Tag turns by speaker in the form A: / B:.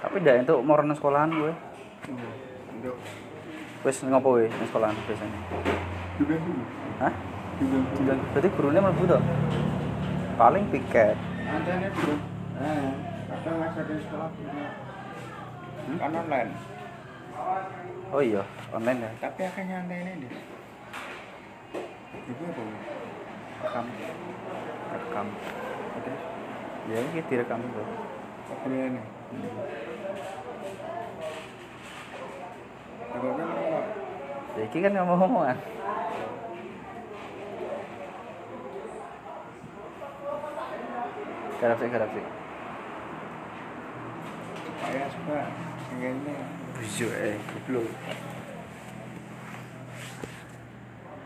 A: tapi ndak entuk morono sekolahan gue.
B: Untuk
A: Wis ngopo we nang sekolahan biasanya?
B: juga dulu.
A: Hah?
B: Juga
A: Tinggal berarti gurunya mlebu to. Paling piket.
B: Antena juga. Eh, kadang masih ada sekolah punya. Kan online.
A: Oh iya, online ya.
B: Tapi akhirnya antena ini. Itu apa? Rekam.
A: Rekam.
B: Terus
A: Ya iki direkam itu.
B: obrolan ini. Kalau kan kalau
A: Ya iki kan ngomong-ngomongan. Garap sih, garap sih.
B: saya suka yang ini
A: Bujuk eh, goblok.